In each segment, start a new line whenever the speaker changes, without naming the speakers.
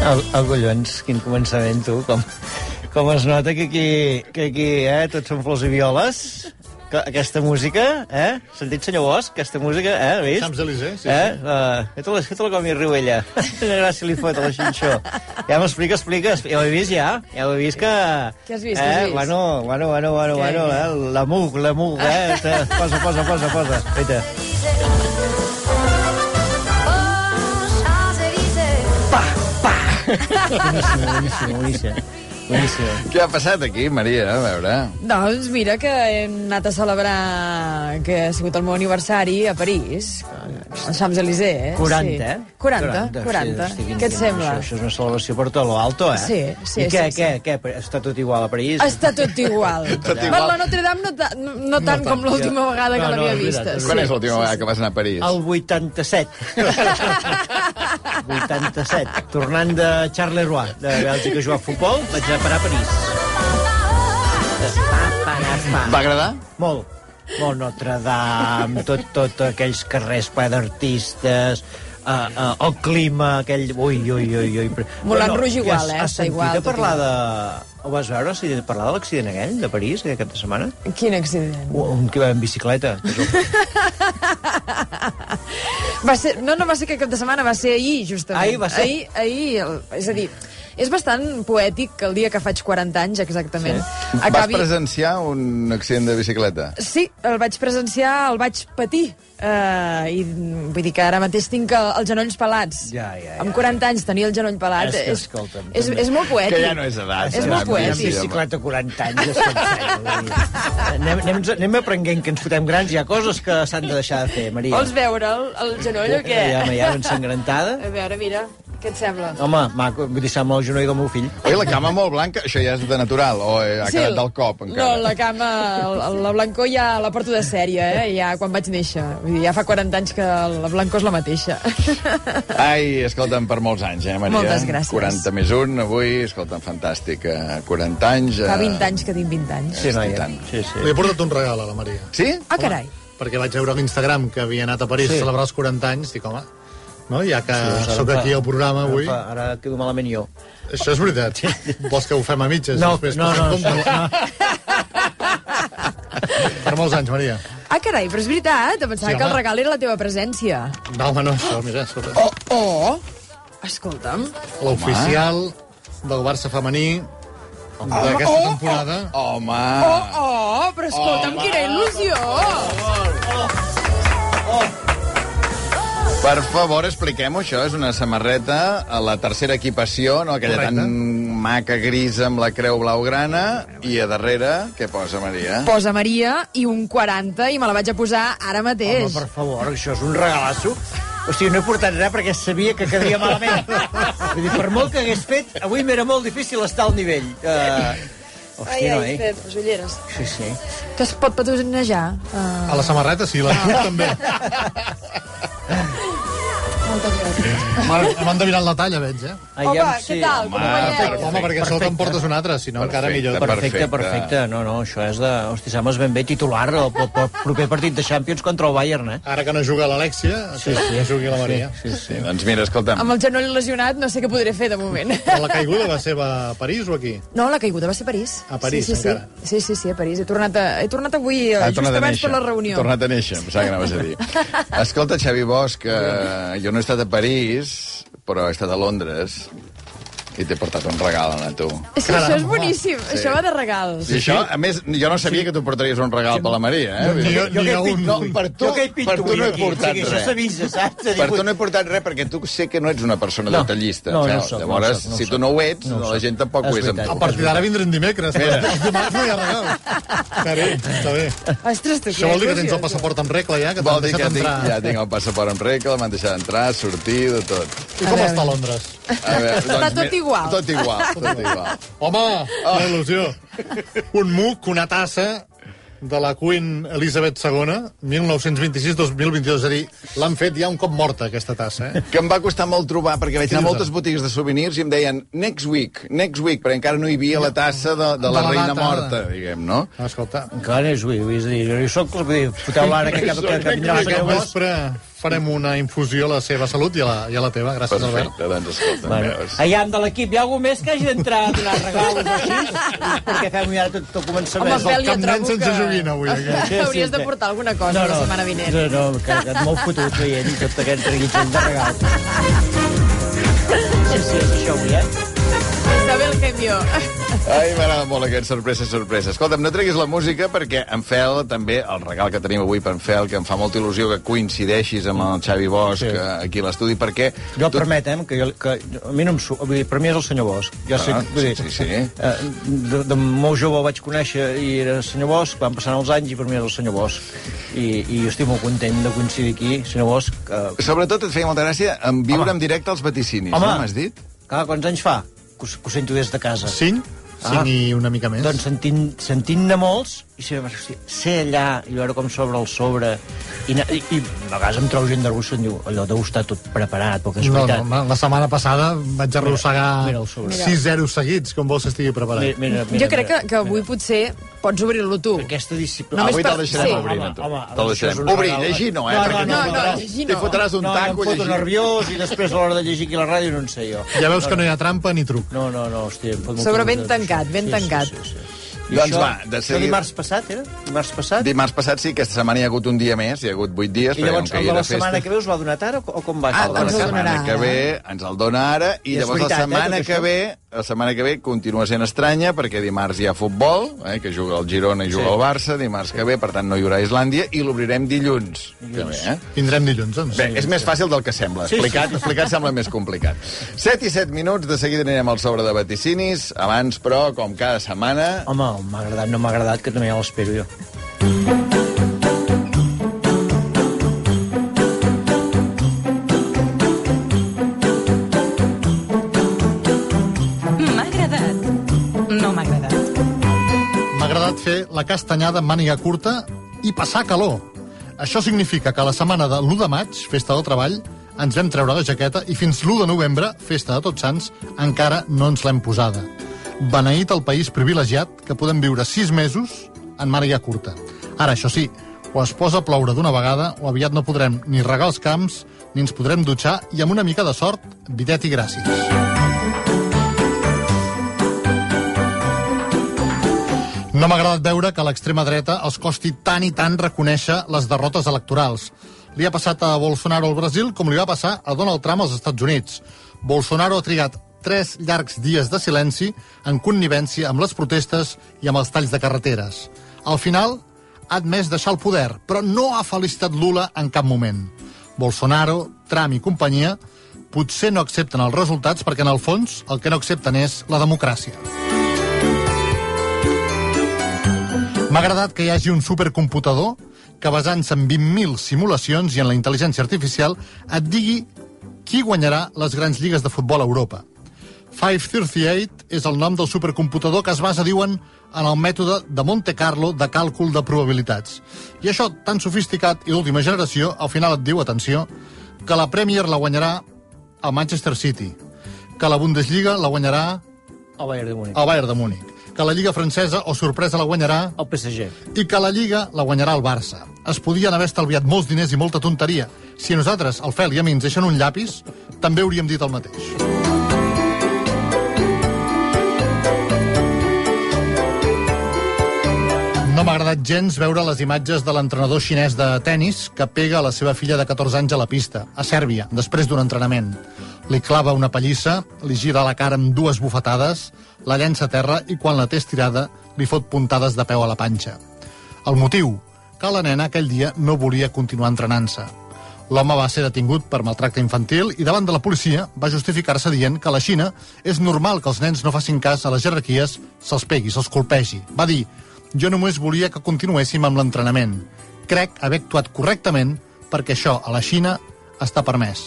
Oh, collons, quin començament, tu. Com, com es nota que aquí, que aquí eh, tots són flors i violes. Que- Aquesta música, eh? Sentit, senyor Bosch? Aquesta música, eh? Has vist?
Champs-Élysées, sí,
Eh? Uh, feta la, feta la com hi riu ella. Quina gràcia li fot a la xinxó. Ja m'explica, explica. expli- Ja ho he vist, ja. Ja ho he vist que...
Què has vist,
Eh?
què has vist?
Bueno, bueno, bueno, bueno,
Què?
bueno eh? La mug, la mug, eh? Te- Posa, posa, posa, posa. Feta. Boníssima, boníssima, boníssima. Boníssima.
Què ha passat aquí, Maria? A veure...
Doncs mira que hem anat a celebrar que ha sigut el meu aniversari a París, als Champs-Élysées.
40,
sí.
eh?
40, 40.
hosti, quin
Què et
temps,
sembla?
Això, això és una celebració per tot lo alto, eh?
Sí, sí,
I què,
sí, sí.
què, què? Però Està tot igual a París?
Està tot igual.
Tot igual.
Per la Notre Dame no, ta, no, no tant com l'última
Ja. No,
vegada que
no,
l'havia
és veritat,
vista.
és
Quan és l'última vegada que vas anar a París?
El 87. 87. Tornant de Charleroi, de Bèlgica a jugar a futbol, vaig anar a parar a París. Pa, pa, pa, pa.
Va agradar?
Molt. Molt Notre Dame, tot, tot aquells carrers pa d'artistes, uh, uh, el clima, aquell... Ui, ui, ui, ui. Però-
Moulin
però
Rouge igual,
has-
eh?
Has
Està
sentit
igual,
a
tot
parlar de... Ho vas veure, has sentit a parlar de l'accident aquell de París, aquest cap de setmana?
Quin accident.
Un que va en bicicleta. que es va-
Va ser, no, no va ser aquest cap de setmana, va ser ahir, justament.
Ahir va ser.
Ahir, ahir el, és a dir, és bastant poètic que el dia que faig 40 anys, exactament, sí.
Vas presenciar un accident de bicicleta?
Sí, el vaig presenciar, el vaig patir. Uh, i mm, vull dir que ara mateix tinc el- els genolls pelats.
Ja, ja, ja.
Amb 40 anys tenir el genoll pelat
És que,
és,
escolta'm,
és,
també.
és molt poètic.
Que ja no és edat.
És
ja, mira,
molt
Anar
poètic.
en
sí, home.
bicicleta 40 anys és cansat. anem, anem, anem aprenent que ens fotem grans. Hi ha coses que s'han de deixar de fer, Maria.
Vols veure el, el genoll o què?
Ja, ja, ensangrentada.
A veure, mira, què et sembla?
Home, maco, vull dir, sembla el genoll del meu fill.
Oi, la cama molt blanca, això ja és de natural, o eh, ha
Sí,
quedat del cop, encara?
No, la cama, el- la blancor ja la porto de sèrie, eh? ja quan vaig néixer. Vull dir, ja fa 40 anys que la blancor és la mateixa.
Ai, escolta'm, per molts anys, eh, Maria?
Moltes gràcies.
40 més 1, avui, escolta'm, fantàstic. eh, 40 anys...
Fa
eh,
20 anys que tinc 20 anys.
Sí, noia.
tant.
Sí, sí.
Li he portat un regal a la Maria.
Sí?
Ah, carai.
Perquè vaig veure a l'Instagram que havia anat a París
Sí.
sí. a celebrar els 40 anys. Dic, home, no? ja que
Sí,
sí,
ara
sóc
em fa-
aquí al programa
ara em
avui,
fa- Ara quedo malament jo.
això és veritat. Vols que ho fem a mitges?
No,
Després
no,
passem
no,
compte?
no.
Per molts anys, Maria.
Ah, carai, però és veritat, em pensava
Sí,
que el
home.
regal era la teva presència.
No, home, no, això, mira, escolta.
Oh,
O, o, escolta'm,
L'oficial del Barça femení
Ah.
d'aquesta
Oh,
temporada.
Home!
o,
Oh,
o, però escolta'm, quina il·lusió!
Per favor, expliquem-ho, això. És una samarreta a la tercera equipació, no? aquella
Correcte.
tan maca grisa amb la creu blaugrana, i a darrere, què posa, Maria?
Posa Maria i un 40 i me la vaig a posar ara
Home,
mateix.
per favor, això és un regalasso. O sigui, no he portat res perquè sabia que quedaria malament. Vull dir, per molt que hagués fet, avui m'era molt difícil estar al nivell. Uh... Hòstia,
eh?
noi.
Pep, les ulleres.
Sí, sí.
Que es pot patrocinejar? Uh,
oh.
A la samarreta, sí, la club també.
moltes gràcies.
M'han m'han endevinat la talla, veig, eh?
Home,
Aviam
què
si-
tal,
Home,
companyet?
perfecte.
Ah, Home, perquè sol que em portes un altre, si no, encara
Perfecte,
millor.
Perfecte,
Perfecte.
perfecte. No, no, això és de... Hosti, Sames ben bé titular del pro- pro- proper partit de Champions contra el Bayern, eh?
Ara que no juga l'Alexia, sí, sí. que jugui la Maria. Sí,
Sí, doncs mira, escolta'm.
Amb el genoll lesionat no sé què podré fer de moment.
sí. La caiguda va ser a París o aquí?
No, la caiguda va ser a París.
A París,
sí, sí,
encara.
Sí. sí, sí, sí, a París. He tornat, a, he tornat avui, ah,
Ha
just
tornat a
abans
néixer.
per la reunió.
Ha Tornat a néixer, em pensava que anaves a dir. Escolta, Xavi Bosch, eh, jo no he estat a París, però he estat a Londres, i t'he portat un regal, Anna, tu.
És que això és
Caram,
boníssim, això va de regal.
I això, a més, jo no sabia que tu portaries un regal per la Maria, eh?
Ni- ni- ni
que he
un,
pit-
ni-
per tu-
jo que he pit
per tu
avui
no he
aquí. o
portat
sigui, Això
res.
s'avisa, saps?
Per tu no he portat res, perquè tu sé que no ets una persona
No.
detallista.
No, no
Fel.
ho soc, no ho
Llavors,
soc, no ho
si
soc.
tu no ho ets,
No ho
la
soc.
gent tampoc
És
ho és amb
veritat.
tu.
A partir d'ara vindran dimecres, però
Espera.
els dimarts no hi ha regals. Està bé, està bé.
Ostres, tu,
Això vol dir que tens el passaport en regla, ja, que t'han
Vol dir
deixat
que tinc,
entrar.
ja tinc el passaport en regla, m'han deixat entrar, sortir, de tot.
I com està Londres?
A veure, doncs,
Està tot
mira,
igual.
Tot igual, tot igual.
Home,
Ah.
la il·lusió. Un muc, una tassa de la Queen Elizabeth II, 1926-2022. És a dir, l'han fet ja un cop morta, aquesta tassa, eh?
que em va costar molt trobar, perquè vaig anar a
Quina
moltes
zona?
botigues de souvenirs i em deien next week, next week, perquè encara no hi havia la tassa de, de la
De la
reina
data.
morta, diguem, no?
Escolta,
Encara és avui, vull dir, jo soc... Vull dir, foteu l'ara que, que, que, que vindrà
aquest
el senyor Bosch.
vespre farem una infusió a la seva salut i a la, i a la teva. Gràcies, Albert.
Perfecte, doncs escolta.
Bueno,
veus?
Aviam, de l'equip, hi ha algú més que hagi d'entrar a donar regalos així? Perquè fem ja tot, tot començament.
Home, Bel, jo
Camp Nen
trobo
sense
que...
joguina, avui, aquest.
Sí, sí,
Hauries de
que-
portar alguna cosa no, no. la setmana vinent.
No, no, que et m'heu fotut veient tot aquest reguitxell de regal. Sí, sí, és això avui, eh?
Isabel Gemio.
Ai, m'agrada molt aquest sorpresa, sorpresa. Escolta'm, no treguis la música perquè en Fel, també, el regal que tenim avui per en Fel, que em fa molta il·lusió que coincideixis amb el Xavi Bosch sí. aquí a l'estudi, perquè...
Jo, tu... permetem, que, jo, que a mi no em su... Vull dir, per mi és el senyor Bosch. Jo
Ah,
sé, vull dir,
sí, sí, sí.
eh, De, de molt jove el vaig conèixer i era el senyor Bosch, van passant els anys i per mi és el senyor Bosch. I, i jo estic molt content de coincidir aquí, senyor Bosch. Eh,
Sobretot et feia molta gràcia en viure Home. en directe els vaticinis,
Home.
no m'has dit?
clar, quants anys fa que, us- que ho sento des de casa?
Cinc? Cinc
Ah.
i una mica més.
Doncs sentint, sentint-ne molts, i sempre vaig hosti, ser allà i veure com s'obre el sobre, i, anar- i, i a vegades em trobo gent d'argús que em diu allò deu estar tot preparat, perquè és
No,
veritat.
no, la setmana passada vaig arrossegar
mira el sobre.
6-0 seguits, com vols que estigui preparat.
Mira, mira, mira,
Jo crec que,
mira.
que avui potser pots obrir-lo tu.
Aquesta disciplina...
Només
Avui
per-
te'l deixarem
sí.
obrir,
Home,
no tu.
home,
Te'l
això és
deixarem.
un
Obrir,
regal.
llegir no, eh?
No, no,
perquè
no,
tu
no,
llegir
T'hi
no.
fotràs un
no, jo
taco
em foto
llegint.
nerviós i després a l'hora de llegir aquí a la ràdio no en sé jo.
Ja veus que no hi ha trampa ni truc.
No, no, no, hòstia, em fot molta
Sobre ben
nerviós, això.
tancat, ben tancat.
Sí, sí, sí, sí. I
Doncs va, de
això
seguida-
dimarts passat, era? Dimarts passat?
Dimarts passat sí, aquesta setmana hi ha hagut un dia més, hi ha hagut 8 dies,
I llavors el de
perquè com que
la
hi era
setmana
festa...
que ve us va donar tard o, o com va?
Ah,
això
de la
Ens el
setmana
donarà
que
ara.
ve ens el dona ara i,
I és
llavors
veritat, eh,
la setmana
tot
que
això.
ve la setmana que ve continua sent estranya perquè dimarts hi ha futbol, eh, que juga el Girona i juga
Sí.
el Barça, dimarts que ve, per tant no hi haurà Islàndia, i l'obrirem dilluns. Que ve, eh?
Vindrem dilluns, doncs.
Bé, és més fàcil del que sembla.
Sí, sí,
Explicat,
sí.
explicat sembla més complicat. 7 i 7 minuts, de seguida anirem al sobre de vaticinis. Abans, però, com cada setmana,
Home, m'ha agradat, no m'ha agradat, que també ja l'espero jo.
M'ha agradat. No m'ha agradat.
M'ha agradat fer la castanyada amb màniga curta i passar calor. Això significa que la setmana de l'1 de maig, festa del treball, ens vam treure la jaqueta i fins l'1 de novembre, festa de Tots Sants, encara no ens l'hem posada. Beneït el país privilegiat que podem viure 6 mesos en màniga curta. Ara, això sí, o es posa a ploure d'una vegada o aviat no podrem ni regar els camps ni ens podrem dutxar i amb una mica de sort, videt i gràcies. No m'ha agradat veure que a l'extrema dreta els costi tant i tant reconèixer les derrotes electorals. Li ha passat a Bolsonaro al Brasil com li va passar a Donald Trump als Estats Units. Bolsonaro ha trigat tres llargs dies de silenci en connivència amb les protestes i amb els talls de carreteres. Al final, ha admès deixar el poder, però no ha felicitat Lula en cap moment. Bolsonaro, Trump i companyia potser no accepten els resultats perquè, en el fons, el que no accepten és la democràcia. M'ha agradat que hi hagi un supercomputador que basant-se en 20.000 simulacions i en la intel·ligència artificial et digui qui guanyarà les grans lligues de futbol a Europa. 538 és el nom del supercomputador que es basa, diuen, en el mètode de Monte Carlo de càlcul de probabilitats. I això, tan sofisticat i d'última generació, al final et diu, atenció, que la Premier la guanyarà el Manchester City, que la Bundesliga la guanyarà
El Bayern de Múnich.
el Bayern de Múnich, que la Lliga Francesa, o sorpresa, la guanyarà
El PSG.
i que la Lliga la guanyarà el Barça. Es podien haver estalviat molts diners i molta tonteria. Si a nosaltres, el Fel i a mi, ens deixen un llapis, també hauríem dit el mateix. No m'ha agradat gens veure les imatges de l'entrenador xinès de tennis que pega a la seva filla de 14 anys a la pista, a Sèrbia, després d'un entrenament. Li clava una pallissa, li gira la cara amb dues bufetades, la llença a terra i quan la té estirada li fot puntades de peu a la panxa. El motiu? Que la nena aquell dia no volia continuar entrenant-se. L'home va ser detingut per maltracte infantil i davant de la policia va justificar-se dient que a la Xina és normal que els nens no facin cas a les jerarquies, se'ls pegui, se'ls colpegi. Va dir, jo només volia que continuéssim amb l'entrenament. Crec haver actuat correctament perquè això a la Xina està permès.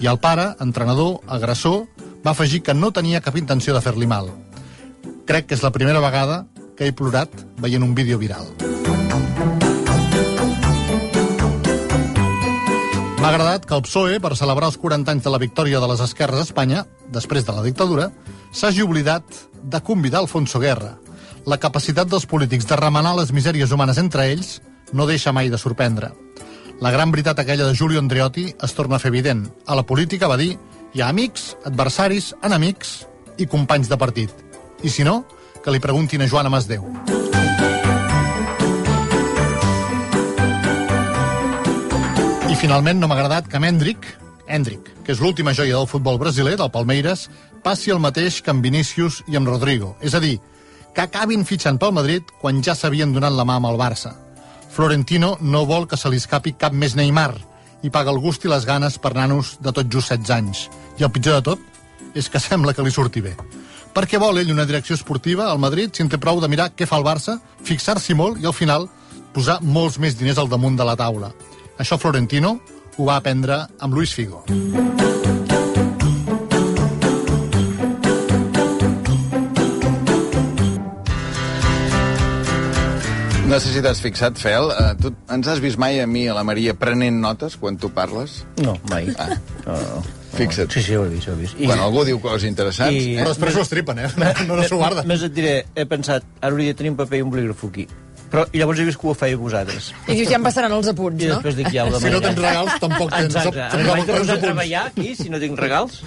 I el pare, entrenador, agressor, va afegir que no tenia cap intenció de fer-li mal. Crec que és la primera vegada que he plorat veient un vídeo viral. M'ha agradat que el PSOE, per celebrar els 40 anys de la victòria de les esquerres a Espanya, després de la dictadura, s'hagi oblidat de convidar Alfonso Guerra. La capacitat dels polítics de remenar les misèries humanes entre ells no deixa mai de sorprendre. La gran veritat aquella de Giulio Andreotti es torna a fer evident. A la política va dir hi ha amics, adversaris, enemics i companys de partit. I si no, que li preguntin a Joana Masdeu. I finalment no m'ha agradat que amb Hendrik, Hendrik, que és l'última joia del futbol brasiler, del Palmeiras, passi el mateix que amb Vinícius i amb Rodrigo. És a dir, que acabin fitxant pel Madrid quan ja s'havien donat la mà amb el Barça. Florentino no vol que se li escapi cap més Neymar i paga el gust i les ganes per nanos de tot just 16 anys. I el pitjor de tot és que sembla que li surti bé. Per què vol ell una direcció esportiva al Madrid si en té prou de mirar què fa el Barça, fixar-s'hi molt i al final posar molts més diners al damunt de la taula. Això Florentino ho va aprendre amb Luis Figo.
No sé si t'has fixat, Fel, eh, tu ens has vist mai a mi, a la Maria, prenent notes quan tu parles?
No, mai.
Ah.
No, no, no.
Fixa't.
Sí, sí, ho he vist, ho he vist.
I... Quan algú diu coses interessants...
I-
I...
Però després ho estripen, eh? No, no, no s'ho guarda.
Més et diré, he pensat, ara hauria de tenir un paper i un bolígraf aquí. Però i llavors he vist que ho fèieu vosaltres.
I dius, ja em passaran els apunts,
I
no?
després dic, ja ho
Si no tens
demanaré.
regals, tampoc tens...
Exacte. Em vaig de posar a treballar aquí, si no tinc regals.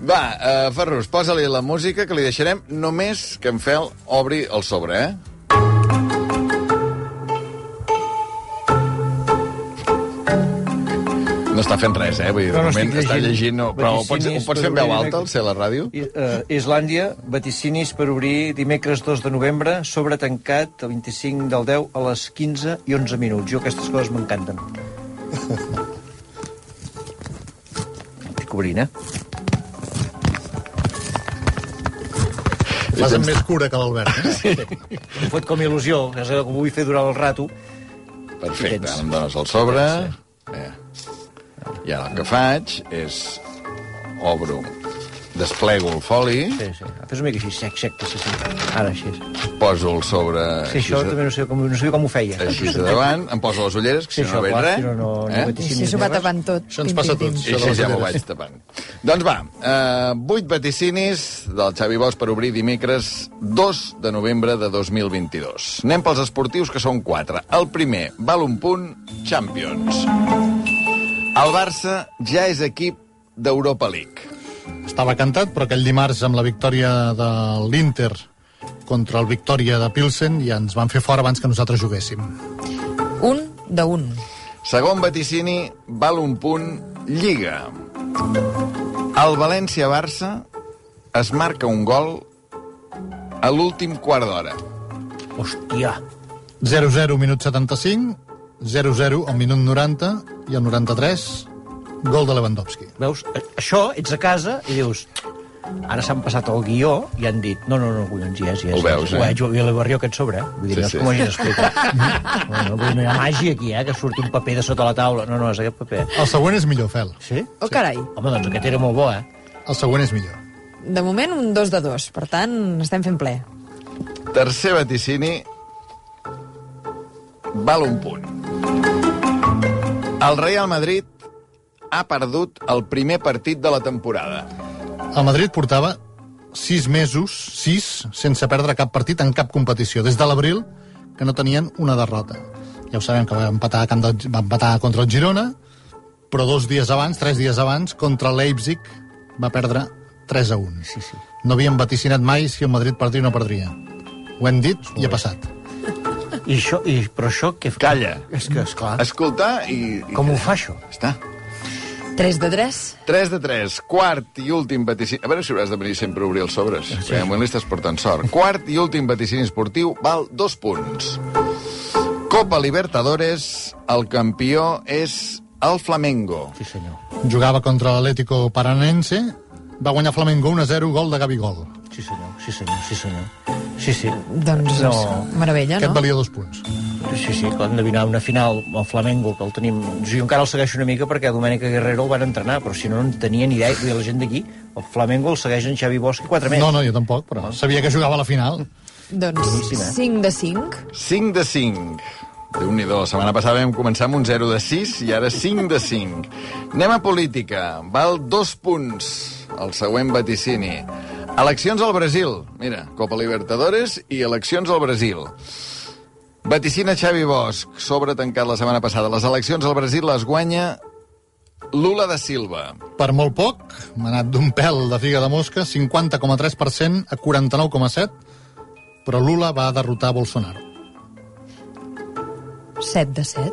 Va, eh, Ferrus, posa-li la música que li deixarem només que en Fel obri el sobre, eh? No està fent res, eh? Vull dir, de
No, no
moment
estic
està
llegint.
llegint... No, però ho pots, ho
Vaticinis
pots fer en
per
veu
obrir-
alta, al ser a la ràdio?
I, eh, Islàndia, vaticinis per obrir dimecres 2 de novembre, sobre tancat el 25 del 10 a les 15 i 11 minuts. Jo aquestes coses m'encanten. Estic obrint, eh?
Fas amb més cura que l'Albert, eh?
Em fot com a il·lusió, que és el que vull fer durant el rato.
Perfecte,
Tens.
ara em dones el sobre. Eh. I ara el que faig és... Obro, desplego el foli,
Sí, sí. Fes una mica així, sec, sec, que sí, sí. Ara així. Sí,
poso el sobre... així
això
de-
també no sé com, no sé com ho feia.
així de davant, em poso les ulleres, que si
Sí,
no
això,
veig
clar,
res.
si no, no, no
eh?
vaig-
Sí, s'ho va tapant tot.
Això ens passa a tots.
I així ja m'ho vaig tapant. Doncs va, eh, 8 vaticinis del Xavi Bosch per obrir dimecres 2 de novembre de 2022. Anem pels esportius, que són 4. El primer, val un punt, Champions. El Barça ja és equip d'Europa League.
Estava cantat, però aquell dimarts amb la victòria de l'Inter contra el Victòria de Pilsen i ens van fer fora abans que nosaltres juguéssim.
Un de un.
Segon vaticini, val un punt, Lliga. El València-Barça es marca un gol a l'últim quart d'hora.
Hòstia.
0-0 minut 75, 0-0 al minut 90 i al 93 gol de Lewandowski.
Veus? A- Això, ets a casa i dius... Ara s'han passat el guió i han dit... No, no, no, collons, ja és, ja és.
Ho veus,
ja és. Ho
eh?
veig, ho veig, la barrió aquest sobre, eh? Vull dir,
Sí,
sí, no és
sí.
com ho hagin explicat. no, no, vull dir, no hi ha màgia aquí, eh? Que surti un paper de sota la taula. No, no, és aquest paper.
El següent és millor, Fel.
Sí?
Oh, carai.
Home, doncs aquest era molt bo, eh?
El següent és millor.
De moment, un dos de dos. Per tant, estem fent ple.
Tercer vaticini val un punt. El Real Madrid ha perdut el primer partit de la temporada.
El Madrid portava 6 mesos, 6, sense perdre cap partit en cap competició. Des de l'abril, que no tenien una derrota. Ja ho sabem, que va empatar, a camp del, va empatar contra el Girona, però dos dies abans, tres dies abans, contra Leipzig, va perdre 3 a 1. Sí, sí. No havíem vaticinat mai si el Madrid perdria o no perdria. Ho hem dit i ha passat.
I això, i, però això... Que...
Calla.
És que, esclar,
Escoltar i... i
com ho fa, això?
Està.
Tres de tres.
3 de 3, quart i últim vaticini... A veure si hauràs de venir sempre a obrir els sobres. Sí. Perquè amb estàs portant sort. Quart i últim vaticini esportiu val dos punts. Copa Libertadores, el campió és el Flamengo.
Sí, senyor.
Jugava contra l'Atlético Paranense, va guanyar Flamengo 1-0, gol de Gabigol.
Sí, senyor. Sí, senyor. Sí, senyor. Sí, sí.
Doncs
No.
meravella,
Aquest
no?
valia dos punts.
Sí, sí, clar, endevinar una final al Flamengo, que el tenim... Jo encara el segueixo una mica perquè Domènica Guerrero el van entrenar, però si no, no en tenia ni idea. Vull dir, la gent d'aquí, el Flamengo el segueix en Xavi Bosch i quatre més.
No, no, jo tampoc, però sabia que jugava a la final.
Doncs
Boníssim, eh?
5 de 5.
5 de 5. Déu-n'hi-do, la setmana passada vam començar amb un 0 de 6 i ara 5 de 5. Anem a política. Val dos punts el següent vaticini. Eleccions al Brasil. Mira, Copa Libertadores i eleccions al Brasil. Vaticina Xavi Bosch, sobre tancat la setmana passada. Les eleccions al Brasil les guanya Lula da Silva.
Per molt poc, m'ha anat d'un pèl de figa de mosca, 50,3% a 49,7%, però Lula va derrotar Bolsonaro.
7 de 7.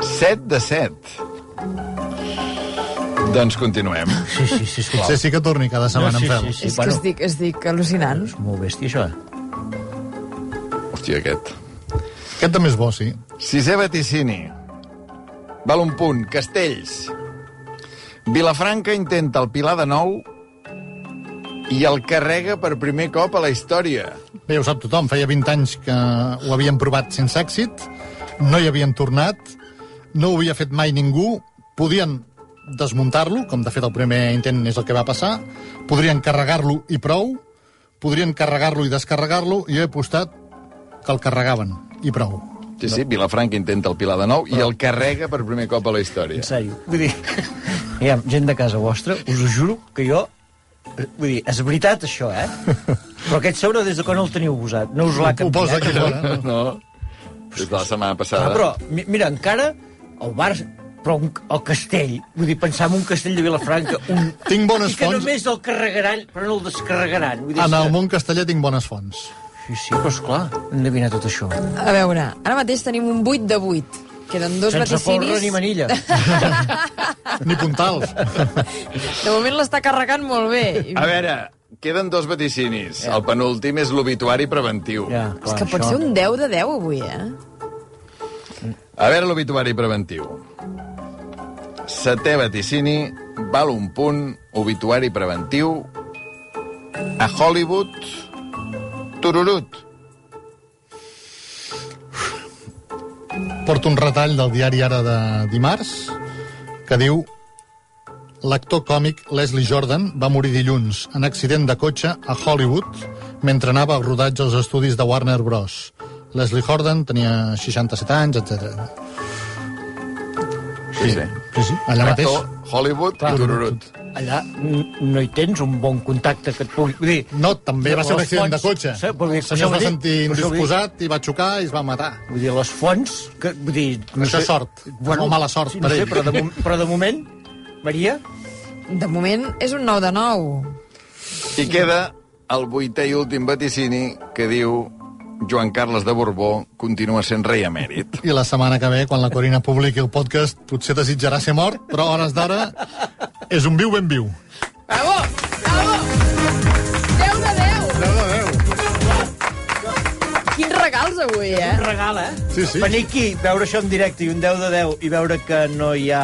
7 de 7. Doncs continuem.
Sí, sí, sí, esclar.
Potser sí que torni cada setmana
No, sí,
en pèl.
sí, sí.
és
bueno.
que estic, estic al·lucinant.
És molt bèstia, això. eh?
Hòstia, aquest.
Aquest també és bo, sí.
Sisè vaticini. Val un punt. Castells. Vilafranca intenta el Pilar de nou i el carrega per primer cop a la història.
Bé, ho sap tothom, feia 20 anys que ho havien provat sense èxit, no hi havien tornat, no ho havia fet mai ningú, podien desmuntar-lo, com de fet el primer intent és el que va passar, podrien carregar-lo i prou, podrien carregar-lo i descarregar-lo, i he apostat que el carregaven i prou.
Sí, sí, Vilafranca intenta el Pilar de nou i el carrega per primer cop a la història.
En sèrio. Vull dir, hi ha gent de casa vostra, us ho juro, que jo... eh, Vull dir, és veritat, això, eh? Però aquest sobre, des de quan el teniu posat? No us l'ha
Ho posa aquí
canviat?
fora.
No? Des de la setmana
Ah,
passada.
però, mi- mira, encara el Barça, però un, el castell, vull dir, pensar en un castell de Vilafranca, un...
eh? Tinc bones
I que
fonts.
només el carregaran, però no el descarregaran. Vull dir, és
En el
que-
món casteller tinc bones fonts.
Sí, sí, però esclar, hem d'endevinar tot això.
A veure, ara mateix tenim un 8 de 8. Queden dos
Sense porra
vaticinis.
ni manilla.
Ni puntals.
De moment l'està carregant molt bé.
A veure, queden dos vaticinis. El penúltim és l'obituari preventiu.
Eh. Ja,
És que pot ser un 10 de 10 avui, eh?
A veure l'obituari preventiu. Setè vaticini, val un punt, obituari preventiu, a Hollywood, tururut.
Porto un retall del diari Ara de dimarts que diu l'actor còmic Leslie Jordan va morir dilluns en accident de cotxe a Hollywood mentre anava al rodatge als estudis de Warner Bros. Leslie Jordan tenia 67 anys, etc.
Sí, sí.
Sí, sí, allà mateix.
Actor, Hollywood i tururut.
Allà n- no hi tens un bon contacte que et pugui... Vull dir,
No, també va ser un
Les
accident de
fonts-
cotxe.
Sí, vol dir-
El senyor es va
això vol dir-
sentir
això vol dir-
indisposat i va xocar i es va matar.
Vull dir, les fonts... Que, vull dir,
Això és sort. O mala sort
sí,
per
no sé,
ell.
però de, mom- però de moment, Maria,
De moment és un 9 de 9.
I queda el vuitè i últim vaticini que diu Joan Carles de Borbó continua sent rei emèrit.
I la setmana que ve, quan la Corina publiqui el podcast, potser desitjarà ser mort, però a hores d'ara és un viu ben viu.
Bravo! Bravo! 10 de 10!
Déu de Déu.
Quins regals avui, eh?
regala, eh?
Sí, sí.
Venir aquí, veure això en directe i un 10 de 10 i veure que no hi ha...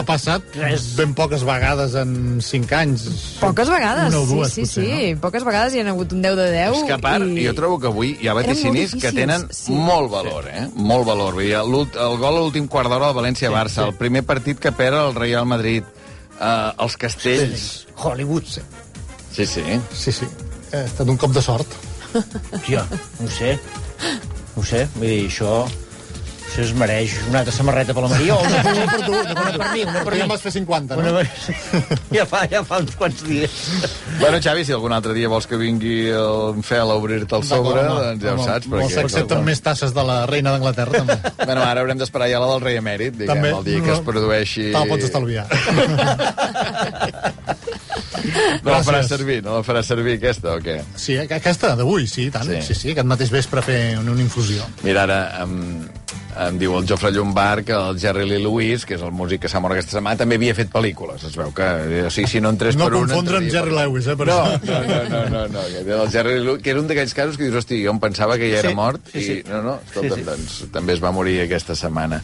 Ha passat
Res.
ben poques vegades en 5 anys.
Poques vegades,
Una o dues,
sí, sí,
potser,
sí. Poques vegades hi ha hagut un 10 de 10.
És que a part,
Oh, i...
jo trobo que avui hi ha
molt
vaticinis que
difícils,
tenen
sí.
sí. molt valor, eh? Molt valor. Vull dir, l'ult- el gol a l'últim quart d'hora del València-Barça, sí, sí. el primer partit que perd el Real Madrid, eh, els castells...
Hollywood. Sí.
Sí, sí.
Sí, sí. Ha estat un cop de sort.
Hòstia, no ho sé. No ho sé, vull dir, això... Això es mereix una altra samarreta per la Maria o una, una per tu, una, per- per mi, una per
Però ja
mi.
en vas fer 50,
Una
no?
per... Ja fa, ja fa uns quants dies.
Bueno, Xavi, si algun altre dia vols que vingui el Fel a obrir-te el sobre,
home,
doncs ja ho
home,
saps.
Vols
perquè-
accepten més tasses de la reina d'Anglaterra, també.
Bueno, ara haurem d'esperar ja la del rei emèrit, diguem,
També,
el dia que
no.
es produeixi...
Te la pots estalviar.
No la farà
Gràcies.
servir, no la farà servir aquesta, o què?
Sí, aqu- aquesta d'avui, sí, i tant.
Sí.
Sí. sí, sí, aquest mateix vespre fer una, una infusió.
Mira, ara em, em diu el Jofre Llombard que el Jerry Lee Lewis, que és el músic que s'ha mort aquesta setmana, també havia fet pel·lícules. Es veu que, eh, o sigui, si no entrés
No
per un...
confondre amb
entraria
Jerry
per-
Lewis, eh, per
No,
això.
no, no, no, no, no, que era el Jerry Lee Lewis, que era un d'aquells casos que dius, hosti, jo em pensava que ja era
Sí,
mort,
sí, sí.
i no, no, escolta'm,
Sí, sí.
doncs també es va morir aquesta setmana.